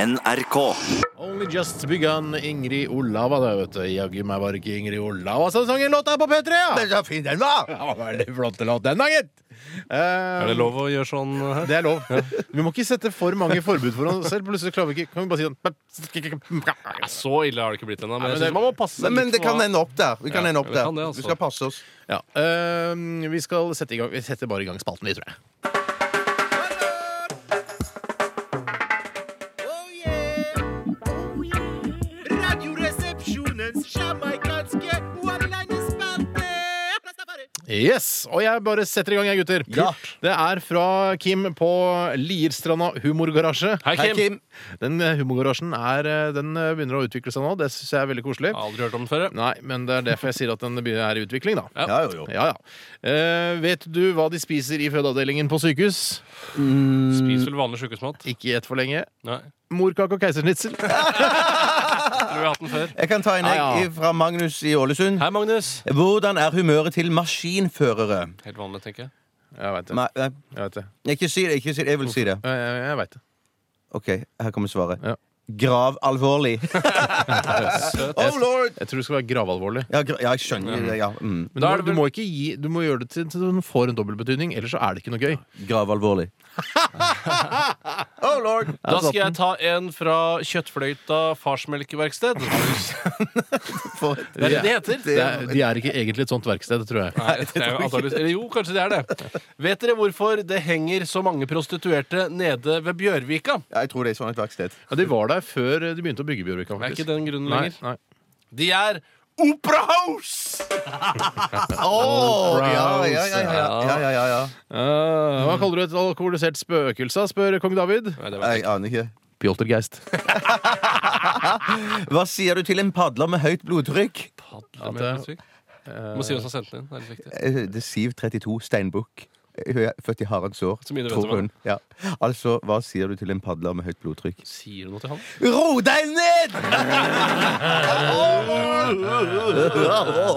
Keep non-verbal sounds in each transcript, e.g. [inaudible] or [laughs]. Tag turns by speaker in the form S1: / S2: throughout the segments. S1: NRK.
S2: Only Just Begun, Ingrid Olava. Det, vet du. Jaggu meg var ikke Ingrid Olava som sang en låt her på P3! Ja.
S3: Men så fin den var!
S2: Ja, veldig flott låt den da, gitt! Eh,
S4: Er det lov å gjøre sånn her?
S2: Det er lov. Vi må ikke sette for mange forbud foran oss selv. Plutselig klarer vi ikke Kan vi bare si sånn
S4: Ja, Så ille har det ikke blitt ennå. Men
S2: Nei, men
S4: jeg
S2: det-
S4: synes man må passe
S3: Men,
S4: seg
S3: men
S4: litt
S3: det
S4: for
S3: kan
S4: hva-
S3: ende opp der. Vi kan
S4: Ja,
S3: ende opp
S4: det
S3: der.
S4: kan det, altså.
S3: Vi skal passe oss.
S2: Ja, eh, vi skal sette i gang Vi setter bare i gang spalten, vi, tror jeg. Yes, Og jeg bare setter i gang, jeg, gutter.
S3: Ja.
S2: Det er fra Kim på Lierstranda humorgarasje.
S4: Hei,
S3: Hei,
S4: Kim.
S3: Kim.
S2: Den eh, humorgarasjen er, eh, den eh, begynner å utvikle seg nå. Det syns jeg er veldig koselig.
S4: Jeg har aldri hørt om den før. jeg.
S2: Nei, men det er derfor jeg sier at den begynner er i utvikling, da.
S4: Ja.
S3: Ja, jo, jo.
S2: Ja, ja. Eh, vet du hva de spiser i fødeavdelingen på sykehus?
S4: Spiser vel vanlig sjukehusmat?
S2: Ikke gjett for lenge.
S4: Nei.
S2: Morkake og keisersnitsel.
S4: Tror vi har hatt den før.
S3: Jeg kan ta en
S2: Ja, ja.
S3: egg fra Magnus i Ålesund.
S4: Hei, Magnus.
S3: Hvordan er humøret til maskinførere?
S4: Helt vanlig, tenker jeg.
S2: Jeg veit det.
S3: Nei, nei,
S2: Jeg vet det.
S3: ikke si det. ikke si det, Jeg vil si det.
S2: Jeg, jeg, jeg vet det.
S3: OK, her kommer svaret.
S2: Ja.
S3: Grav
S4: [laughs]
S3: alvorlig. oh lord!
S2: Jeg tror det skal være gravalvorlig.
S3: Ja, gra ja jeg skjønner det. Ja. Mm.
S2: Men du
S4: Da
S2: må,
S4: er det
S2: du
S4: vel-
S2: må ikke gi Du må gjøre det til til den får en dobbeltbetydning, ellers så er det ikke noe gøy.
S3: Grav
S4: [laughs]
S3: alvorlig. oh lord!
S4: Da skal jeg ta en fra Kjøttfløyta farsmelkeverksted. Det
S3: [laughs] For et
S4: er det det heter.
S2: Det er, de er ikke egentlig et sånt verksted, tror jeg.
S4: Nei, det er jo antageligvis- Eller jo, kanskje det er det. Vet dere hvorfor det henger så mange prostituerte nede ved Bjørvika?
S3: Ja, jeg tror det er sånn et verksted.
S2: Ja, de var der før de begynte å bygge Bjørvika.
S4: Er
S2: faktisk.
S4: ikke den grunnen
S2: Nei,
S4: lenger?
S2: nei.
S4: De er Opera
S3: [laughs]
S4: House!
S3: Oh, ja, ja, ja, ja,
S4: Browse.
S3: ja, ja, ja, ja.
S2: Eh, hva kaller du et alkoholisert spøkelse? spør kong David.
S4: Nei, det var
S3: Jeg aner ikke.
S2: Pjoltergeist.
S3: Hva sier du til en padler med høyt blodtrykk?
S4: padler med helt sykt. Du Må si hvem som har sendt den inn. Det er litt viktig.
S3: Eh, Det er Siv 32 Steinbukk. Eh, Hun er født i Haralds år,
S4: Så mye du vet
S3: tror
S4: om
S3: hun. Ja. Altså, hva sier du til en padler med høyt blodtrykk?
S4: Sier du noe til han?
S3: Ro deg ned!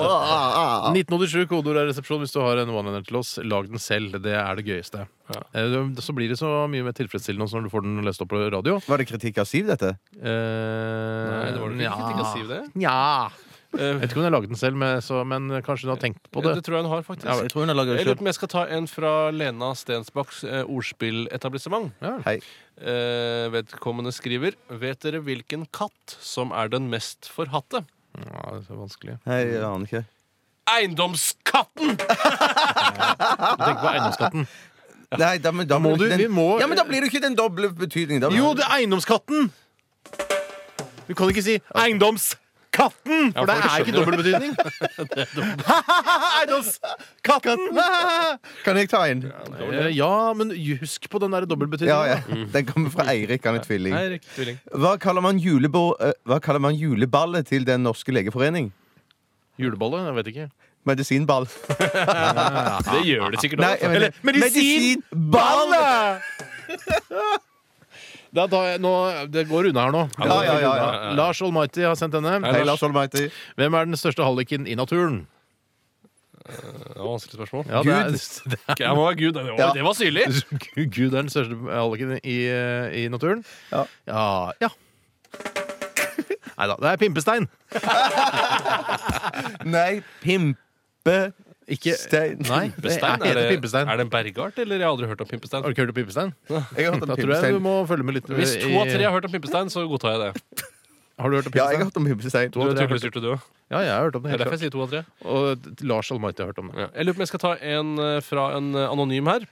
S2: 1987 kodeord er resepsjon hvis du har en one-liner til oss. Lag den selv. Det er det gøyeste.
S4: Ja.
S2: Eh, Så blir det så mye mer tilfredsstillende også når du får den lest opp på radio. Eh,
S3: Var det kritikk av Siv, dette?
S2: Nei,
S4: Nei, det var det ikke. Kritikk av Siv, det.
S2: Nja Jeg
S4: Eh,
S2: vet ikke om hun har lagd den selv, men, så, men kanskje hun har tenkt på det.
S4: det tror jeg han har, faktisk.
S2: Ja,
S4: Jeg
S2: vel.
S3: tror hun har laga
S4: lurer på om jeg skal ta en fra Lena Stensbakks eh, ordspilletablissement.
S3: Hei.
S4: Eh, vedkommende skriver Vet dere hvilken katt som er den mest forhatte?
S2: Ja, det er så vanskelig.
S3: Hei, jeg aner ikke.
S4: Eiendomskatten!
S2: Du tenker på eiendomsskatten.
S3: Nei, da, men da,
S2: må
S3: blir
S2: du-
S3: det ikke den,
S2: vi må-
S3: Ja, men da blir det ikke den doble betydningen. Da.
S2: [laughs] Jo, det er eiendomskatten! Du kan ikke si eiendomskatten! For det
S4: folk
S2: er ikke
S4: skjønner
S2: [laughs] dobbeltbetydning. [laughs] Eiendomskatten! [laughs]
S3: Kan jeg ta en?
S2: Eh, Ja, men husk på den der
S3: Ja,
S2: dobbeltbetydningen.
S3: ja. Den kommer fra Eirik, han er tvilling.
S4: Nei, riktig tvilling.
S3: Hva kaller man, julebo- eh, hva kaller man juleballet til Den norske legeforening?
S2: Julebolle? Jeg vet ikke.
S3: Medisinball.
S4: Det gjør det sikkert
S3: Nei,
S4: også.
S3: jeg mener,
S2: medisin-
S3: medisinball!
S2: [laughs] Da, da, nå, det går unna her nå.
S3: Ja, ja, ja, ja.
S2: Lars Almighty har sendt denne.
S3: Hei, Lars Almighty.
S2: Hvem er den største halliken i naturen?
S4: Det var vanskelig spørsmål.
S2: Ja, det er- [laughs] det er-
S4: Ok, Jeg må være Gud. Det var,
S3: Ja.
S4: det var syrlig!
S2: Gud er den største halliken i, i naturen.
S3: Ja.
S2: ja, ja. Nei da, det er pimpestein.
S3: Nei, pimpe
S2: Ikke
S3: Stein.
S2: Nei, det er,
S4: Pimpestein,
S2: heter
S4: er, det,
S2: pimpestein.
S4: er det en bergart, eller? Jeg har aldri hørt om pimpestein.
S2: Har du ikke hørt om pimpestein?
S3: [laughs] Jeg har hørt om
S2: Da tror jeg du
S3: Sånn pimpestein.
S2: må følge med litt.
S4: Hvis to av tre
S2: i-
S4: har hørt om pimpestein, så godtar jeg det.
S2: Har du hørt om
S3: Ja, jeg har
S2: pimpestein?
S3: hørt om pimpestein.
S4: Du har
S2: tre har
S4: tydeligvis gjort det, du òg.
S2: Ja, jeg har hørt om det.
S4: Det er
S2: Helt
S4: derfor
S2: klart.
S4: jeg sier to av tre.
S2: Og Lars Almighty har hørt om det.
S4: Ja. Jeg lurer på om jeg skal ta en eh, fra en eh, anonym her.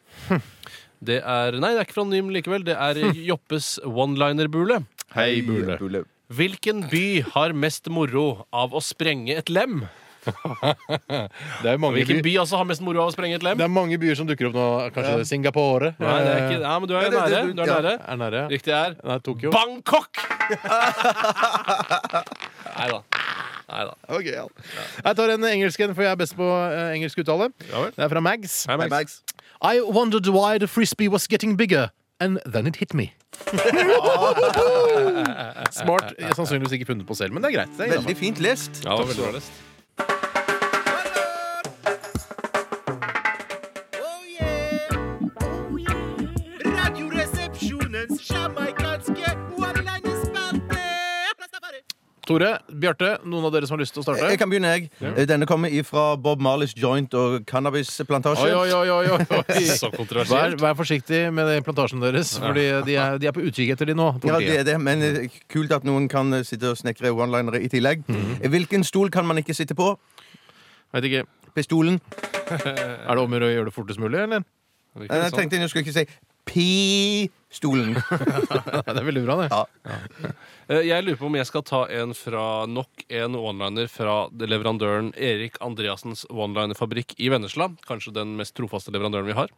S4: Det er Nei, det er ikke fra anonym likevel. Det er Joppes one-liner-bule.
S2: Hei, Bule.
S3: Bule.
S4: Hvilken by har mest moro av å sprenge et lem?
S2: Det er, mange
S4: Hvilken
S2: byer,
S4: by altså har mest moro av å sprenge et lem?
S2: det er mange byer som dukker opp nå. Kanskje det er Singapore? Eh,
S4: Nei, det er ikke, nei men du er
S3: Nei, det-
S4: nære.
S3: det-
S4: Du er
S3: ja.
S4: nære.
S2: Er nære.
S4: Riktig er
S2: Nei, Tokyo.
S4: Bangkok! Nei da. Nei da.
S2: Ok, ja. Jeg tar en engelsk en, for jeg er best på eh, engelsk uttale.
S4: Ja vel.
S2: Det er fra Mags.
S4: Hei,
S3: Hei,
S4: Max.
S3: Max.
S2: I wondered why the frisbee was getting bigger, and then it hit
S4: [laughs]
S2: me. Smart. Sannsynligvis ikke funnet på selv, men det er greit. Det er
S3: Veldig fint lest.
S4: Ja, det var veldig bra lest.
S5: Radioresepsjonens jamaicanske one-liner.
S2: Tore, Bjarte, noen av dere som har lyst til å starte?
S3: Jeg kan begynne, jeg. Eh, Denne kommer ifra Bob Marleys joint og cannabisplantasje.
S2: Oi, oi, oi, oi, oi,
S4: [laughs] er Så
S2: oi. Vær,
S4: kontroversielt.
S2: vær forsiktig med den plantasjen deres, Fordi de er, de er på utkikk etter de nå.
S3: Ja,
S2: politiet.
S3: det er det, men eh, kult at noen kan eh, sitte og snekre one-linere i tillegg. Eh, Hvilken stol kan man ikke sitte på?
S2: Vet ikke.
S3: Pistolen.
S2: Er det om å gjøre å gjøre det fortest mulig,
S4: [laughs]
S2: eller?
S3: Nei, Jeg
S4: Det er ikke sånn.
S3: Eh, tenkte jeg skulle ikke si pi-stolen.
S2: Nei, det er veldig bra, det.
S3: Ja.
S4: Eh, Jeg lurer på om jeg skal ta en fra nok en oneliner fra leverandøren Erik Andreassens onelinerfabrikk i Vennesla. Kanskje den mest trofaste leverandøren vi har.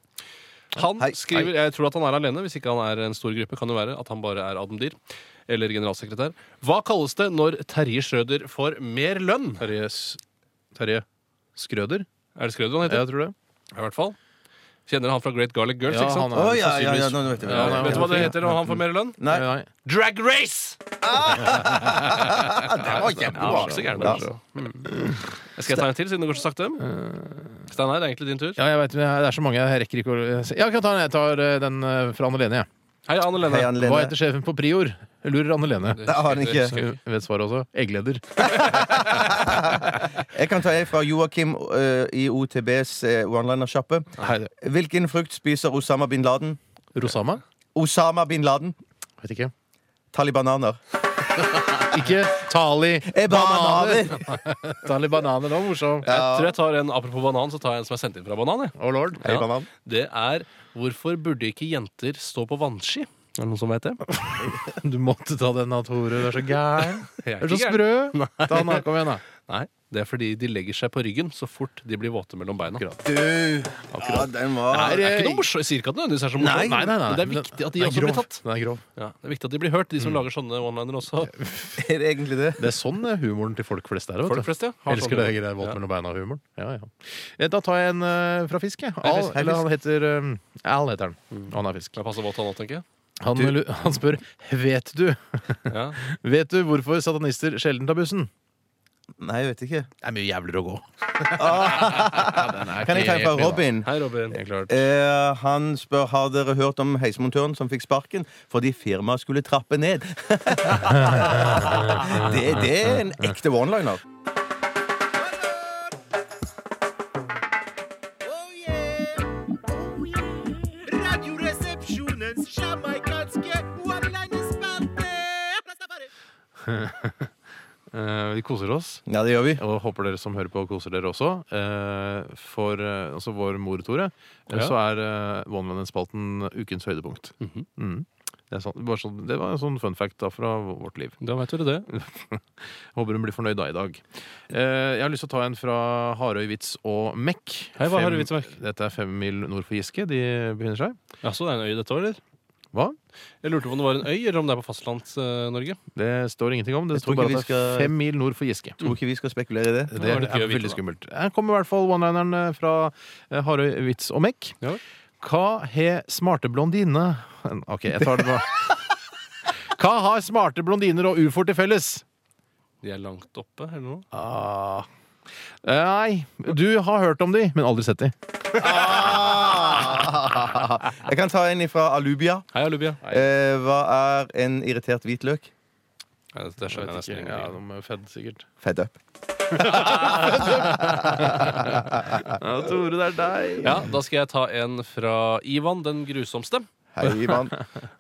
S4: Han
S3: Hei,
S4: skriver, Jeg tror at han er alene, hvis ikke han er en stor gruppe. Kan jo være at han bare er Ademdir eller generalsekretær. Hva kalles det når Terje Schrøder får mer lønn?
S2: Terje, S- Terje Skrøder?
S4: Er det Schrøder han heter?
S2: Jeg tror det.
S4: I hvert fall. Kjenner han fra Great Garlic Girls,
S2: Ja,
S4: ikke
S2: han
S4: sant?
S2: er
S3: Å, ja, ja, ja,
S2: sannsynligvis-
S3: nå vet jeg.
S4: Ja,
S2: han er- Mm.
S4: vet du hva det heter når han får mer lønn?
S3: Nei,
S2: Nei,
S4: Drag Race!
S3: ah, [laughs] det var kjempebra.
S4: Ja, det var ikke så gærent,
S3: Ja.
S4: altså. Skal jeg ta en til, siden det går så sakte? Steinar, det er egentlig din tur.
S2: Ja, jeg vet, men jeg- det er så mange. Jeg rekker ikke å Ja, jeg kan ta den. Jeg tar eh, den eh, fra Anne Lene. jeg.
S4: Hei, Anne Lene.
S3: Hei, Anne
S2: Hva
S3: Lene.
S2: heter sjefen på Prior? Jeg lurer Anne Lene.
S3: Det har han ikke.
S2: Skal vi- Vet svaret også. Eggleder.
S3: Jeg kan ta ei fra Joakim eh, i OTBs eh, one-liner-sjappe.
S2: Hei, det-
S3: Hvilken frukt spiser Osama bin Laden?
S2: Rosama?
S3: Osama bin Laden?
S2: Vet ikke.
S3: Talibananer.
S2: Ikke Tali
S3: Eh,
S2: Bananer.
S3: Bananer!
S2: Tali Bananer, det var morsomt.
S4: Jeg tror jeg tar en apropos banan, så tar jeg en som er sendt inn fra Banan. Jeg.
S2: Å lord.
S3: Hei, banan.
S4: Det er hvorfor burde ikke jenter stå på vannski? Er det noen som vet det?
S2: Du måtte ta den, da, Tore. Du er så
S4: [laughs]
S2: gæren.
S4: Jeg
S2: Du er så
S4: ikke gæren.
S2: sprø. Ta den, da. Kom igjen, da.
S4: Nei, det er fordi de legger seg på ryggen så fort de blir våte mellom beina.
S2: Akkurat.
S3: Du! Ja, den
S4: Nei,
S3: var
S4: det er ikke noe morsomt. Jeg sier ikke at det nødvendigvis er så morsomt.
S3: Nei,
S2: Nei, nei, nei.
S4: Men det er viktig at de
S2: Den er
S4: også blir
S2: grov.
S4: tatt.
S2: Den er grov.
S4: Ja, det er viktig at de blir hørt, de som lager sånne one-liner også.
S3: Er det egentlig det?
S2: Det er sånn eh, humoren til folk flest er.
S4: Folk
S2: Vet du.
S4: flest, ja. har
S2: Elsker sånn det
S4: sånne-
S2: greier våt
S4: Ja.
S2: mellom beina-humoren. Ja, ja. Eh, Da tar jeg en eh, fra Fisk, jeg. Al,
S3: Fisk. Mm. Hei,
S2: eller han heter um, Al heter han. Og Han er fisk.
S4: Jeg passer våt han nå, tenker jeg.
S2: Han, lu- han spør Vet du
S4: Ja.
S2: Vet du hvorfor satanister sjelden tar bussen?
S3: Nei, jeg vet ikke.
S2: Det er mye jævligere å
S3: [laughs]
S2: gå.
S3: Kan jeg ta en fra Robin?
S4: Hei, Robin.
S2: Det er klart.
S3: Eh, han spør har dere hørt om heismontøren som fikk sparken fordi firmaet skulle trappe ned. [laughs] det, det er en ekte one-liner.
S1: Radioresepsjonens jamaikanske one-liner-spalte.
S2: Eh, vi koser oss.
S3: Ja, det gjør vi.
S2: Og håper dere som hører på, koser dere også. Eh, for eh, altså vår mor, Tore, eh,
S4: Ja.
S2: så er eh, One Man-spalten ukens høydepunkt.
S3: Mhm.
S2: Mm. Det, er sånn, bare sånn, det var en sånn fun fact da fra vårt liv.
S4: Da vet dere det.
S2: Håper hun blir fornøyd da i dag. Eh, jeg har lyst til å ta en fra Harøy, Vits og Mekk.
S4: Hei, hva
S2: Fem-
S4: har du vits og Mekk?
S2: Dette er fem mil nord for Giske. De befinner seg.
S4: Jaså, det er en øy dette år, eller?
S2: Hva?
S4: Jeg lurte på om det var en øy, eller om det er på eh, fastlands-Norge.
S2: Det står ingenting om. Det
S3: Jeg tror
S2: står bare at det
S3: ikke vi
S2: er
S3: skal-
S2: fem mil nord for Giske.
S3: Tror ikke vi skal spekulere i det.
S2: Det,
S4: Det var litt gøy
S2: er
S4: å vite,
S2: veldig
S4: da.
S2: skummelt. Her kommer i hvert fall one-lineren eh, fra eh, Harøy, Vits og Mekk.
S4: Ja vel.
S2: Hva har smarte blondine Ok, jeg tar det nå. Hva har smarte blondiner og ufoer til felles?
S4: De er langt oppe, eller noe?
S2: Ah. Nei, du har hørt om de, men aldri sett de.
S3: Ah! Jeg kan ta en fra Alubia.
S4: Hei, Alubia.
S3: Eh, hva er en irritert hvitløk?
S4: Nei, det- det skjønner jeg nesten
S2: Ja,
S4: ikke.
S2: de er fedd, sikkert.
S3: Fed up.
S2: Ja, Tore, det er deg.
S4: Ja, da skal jeg ta en fra Ivan den grusomste.
S3: Hei,
S2: [laughs]
S3: Ivan.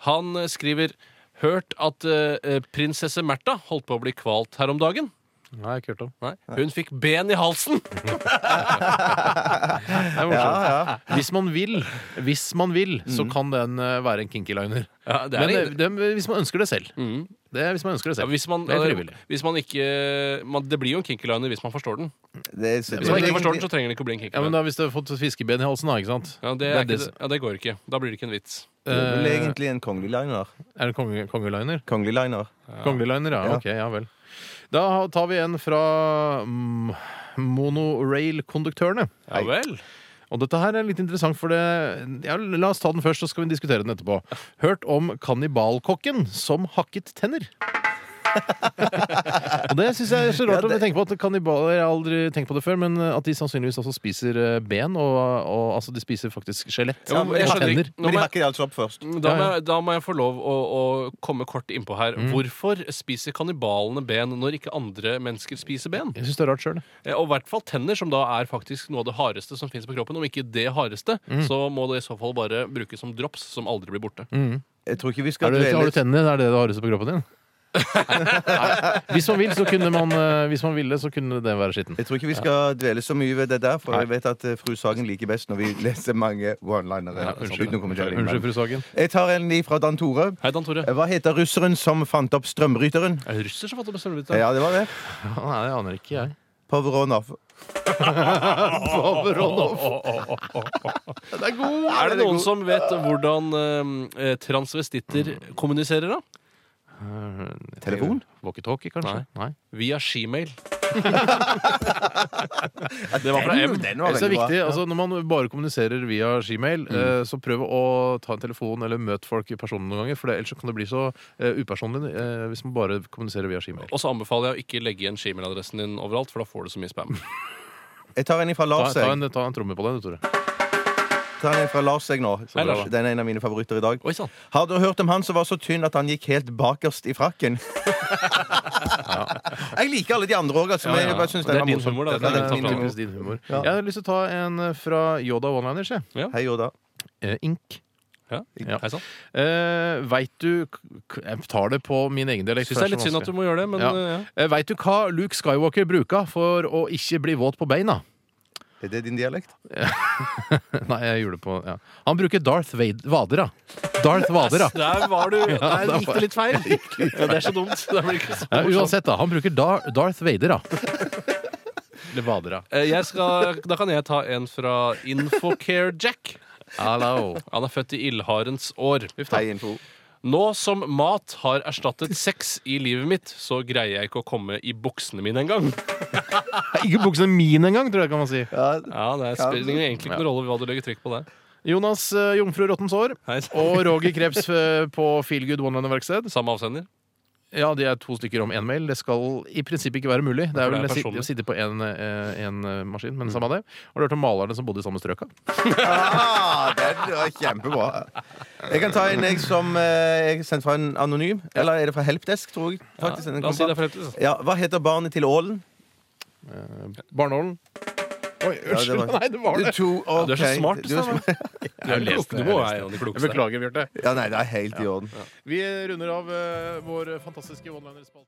S4: Han eh, skriver Hørt at eh, eh, prinsesse Märtha holdt på å bli kvalt her om dagen.
S2: Nei, jeg har ikke hørt om.
S4: Nei, Hun fikk ben i halsen!
S2: Det er morsomt. Hvis man vil, hvis man vil, så kan den eh, være en kinky liner.
S4: Ja, det er
S2: Men
S4: en-
S2: eh, dem- hvis man ønsker det selv. Det er hvis man ønsker det
S4: ja,
S2: selv.
S4: hvis man, eh,
S2: det er frivillig.
S4: hvis man ikke man, Det blir jo en kinkyliner hvis man forstår den.
S3: Det er-
S4: Hvis man ikke forstår den, så trenger den ikke å bli en
S2: Ja, men
S4: kinkyliner.
S2: da Hvis du har fått fiskeben i halsen, da. ikke sant?
S4: Ja, det, er ikke, ja, det går ikke. Da blir det ikke en vits.
S3: Det er vel egentlig en kongelig liner.
S2: Eh, Er det konge, kongeliner?
S3: Kongelig liner.
S2: Kongelig liner, ja.
S3: Ja.
S2: Ok, ja vel. Da tar vi en fra mm, monorail-konduktørene.
S4: Ja vel.
S2: Og dette her er litt interessant, for det ja, La oss ta den først, så skal vi diskutere den etterpå. Hørt om kannibalkokken som hakket tenner. [laughs] Og det syns jeg er så rart å tenke på. at Kannibaler jeg har aldri tenkt på det før, men at de sannsynligvis også spiser eh, ben. Og, og altså, de spiser faktisk skjelett.
S4: Ja, men jeg
S2: Og
S4: skjønner ikke-
S2: tenner.
S4: nå
S3: Men de
S4: må
S3: hakker det altså opp først.
S4: jeg- Da
S2: Ja,
S4: må,
S2: Mm. ja.
S4: jeg, da må jeg få lov å, å komme kort innpå her. Hvorfor spiser kannibalene ben når ikke andre mennesker spiser ben?
S2: Jeg syns det er rart sjøl.
S4: Eh, Og i hvert fall tenner, som da er faktisk noe av det hardeste som finnes på kroppen. Om ikke det hardeste,
S2: Mm.
S4: så må det i så fall bare brukes som drops som aldri blir borte.
S3: Jeg tror ikke vi skal
S2: Har du
S3: dvele
S2: tennene? Er det det hardeste på kroppen din? [laughs] Nei. Hvis man vil, så kunne man eh, Hvis man ville, så kunne det være skitten.
S3: jeg tror ikke vi skal dvele så mye ved det der, for
S2: Nei.
S3: jeg vet at eh, fru Sagen liker best når vi [laughs] leser mange one-linere. uten å kommentere innimellom.
S2: Unnskyld, fru Sagen.
S3: Jeg tar en i fra Dan Tore. Eh,
S4: Hei, Dan Tore.
S3: Hva heter russeren som fant opp strømbryteren?
S4: Er det russer som har fått opp strømmeteren?
S3: Ja, det var det.
S2: Nei, det aner ikke jeg.
S3: Pavronov.
S2: [laughs] Det er god!
S4: Er det noen som vet hvordan eh, eh, transvestitter kommuniserer, da?
S2: Mhm.
S3: Telefon?
S2: Walkietalkie, kanskje? Nei.
S4: Via shemail. det var fra M.
S3: Den
S2: Jeg synes det er viktig, altså Når man bare kommuniserer via Gmail, eh, så prøv å ta en telefon eller møte folk i personen noen ganger. For det, ellers så kan det bli så eh, upersonlig eh, hvis man bare kommuniserer via Gmail.
S4: Og så anbefaler jeg å ikke legge igjen shemail-adressen din overalt, for da får du så mye
S2: [laughs]
S4: spam.
S3: Jeg tar en fra
S2: Ta,
S3: Lars,
S2: ta,
S3: jeg.
S2: en, ta en tromme på den, du, Tore.
S3: Tar en fra Lars jeg nå.
S4: Hei, Lars.
S3: Den er en av mine favoritter i dag.
S4: Oi sånn. sann.
S3: Har dere hørt om han som var så tynn at han gikk helt bakerst i frakken?
S4: [laughs]
S3: Jeg liker alle de andre òg, altså.
S4: Ja,
S3: Men
S4: ja.
S3: jeg bare synes
S4: Det er
S3: den var
S4: din
S3: morsom.
S4: humor, da.
S3: Ja,
S4: Det er
S3: den er
S4: den
S3: min
S4: tapper.
S3: humor.
S2: Typisk din humor.
S3: Ja.
S2: Jeg har lyst til å ta en eh, fra Yoda Oneliners. jeg.
S3: Hei, Yoda.
S2: Eh, Ink.
S4: Ja.
S2: Ja.
S4: Hei sann.
S2: Eh, Veit du k- Jeg tar det på min egen del. jeg
S4: Syns det er litt
S2: så
S4: synd at du må gjøre det, men
S2: Ja.
S4: eh, ja.
S2: vanskelig. Eh, Veit du hva Luke Skywalker bruka for å ikke bli våt på beina?
S3: Er det din dialekt?
S2: Nei, jeg gjorde det på ja. Han bruker Darth Vader. Vadera. Darth
S4: [laughs]
S2: Vadera.
S4: Der var du. Der
S2: der
S4: [laughs] gikk
S2: var-
S4: det litt feil. Ja, det er så dumt. Det blir ikke så
S2: Ja,
S4: morsomt.
S2: uansett, da. Han bruker Dar Darth Vader, da. Eller Vadera.
S4: Eh, Jeg skal, da kan jeg ta en fra Infocare Jack.
S2: Hallo.
S4: Han er født i ildharens år.
S3: Hei, info.
S4: Nå som mat har erstattet sex i livet mitt, så greier jeg ikke å komme i buksene mine engang.
S2: Ikke buksene mine engang, tror jeg kan man si.
S3: Ja,
S4: Ja, det er- spiller egentlig ikke noen rolle hva du legger trykk på der.
S2: Jonas eh, Jomfru Rottens Hår
S4: Hei.
S2: og Roger Krebs eh, på Feelgood One-Liner-verksted.
S4: Samme avsender.
S2: Ja, de er to stykker om én mail. Det skal i prinsippet ikke være mulig. Det er
S4: For
S2: vel
S4: det er
S2: å sitte på én eh, maskin, men samme det. Har du hørt om malerne som bodde i samme strøka?
S3: [laughs] Ah, den var kjempebra. Jeg kan ta en jeg som eh, jeg sendt fra en anonym. Eller er det fra Helpdesk, tror jeg. Faktisk, den
S4: La oss si
S3: kom
S4: det er
S3: fra.
S4: for helvete.
S3: ja, hva heter barnet til ålen?
S2: Barnålen. Oi,
S3: Ja,
S2: unnskyld.
S3: det
S2: [laughs]
S3: var-
S2: Nei, det var
S3: Du,
S2: det.
S3: to,
S4: Ja, Du er så
S3: ok.
S4: smart,
S3: Du er
S4: Steinar.
S3: smart. [laughs]
S4: Du er klok. Du må være en av de
S2: Jeg
S4: klokeste.
S2: Beklager, Bjarte.
S3: Ja, nei, det er helt i orden.
S2: Vi runder av eh, vår fantastiske one-liner-spalte.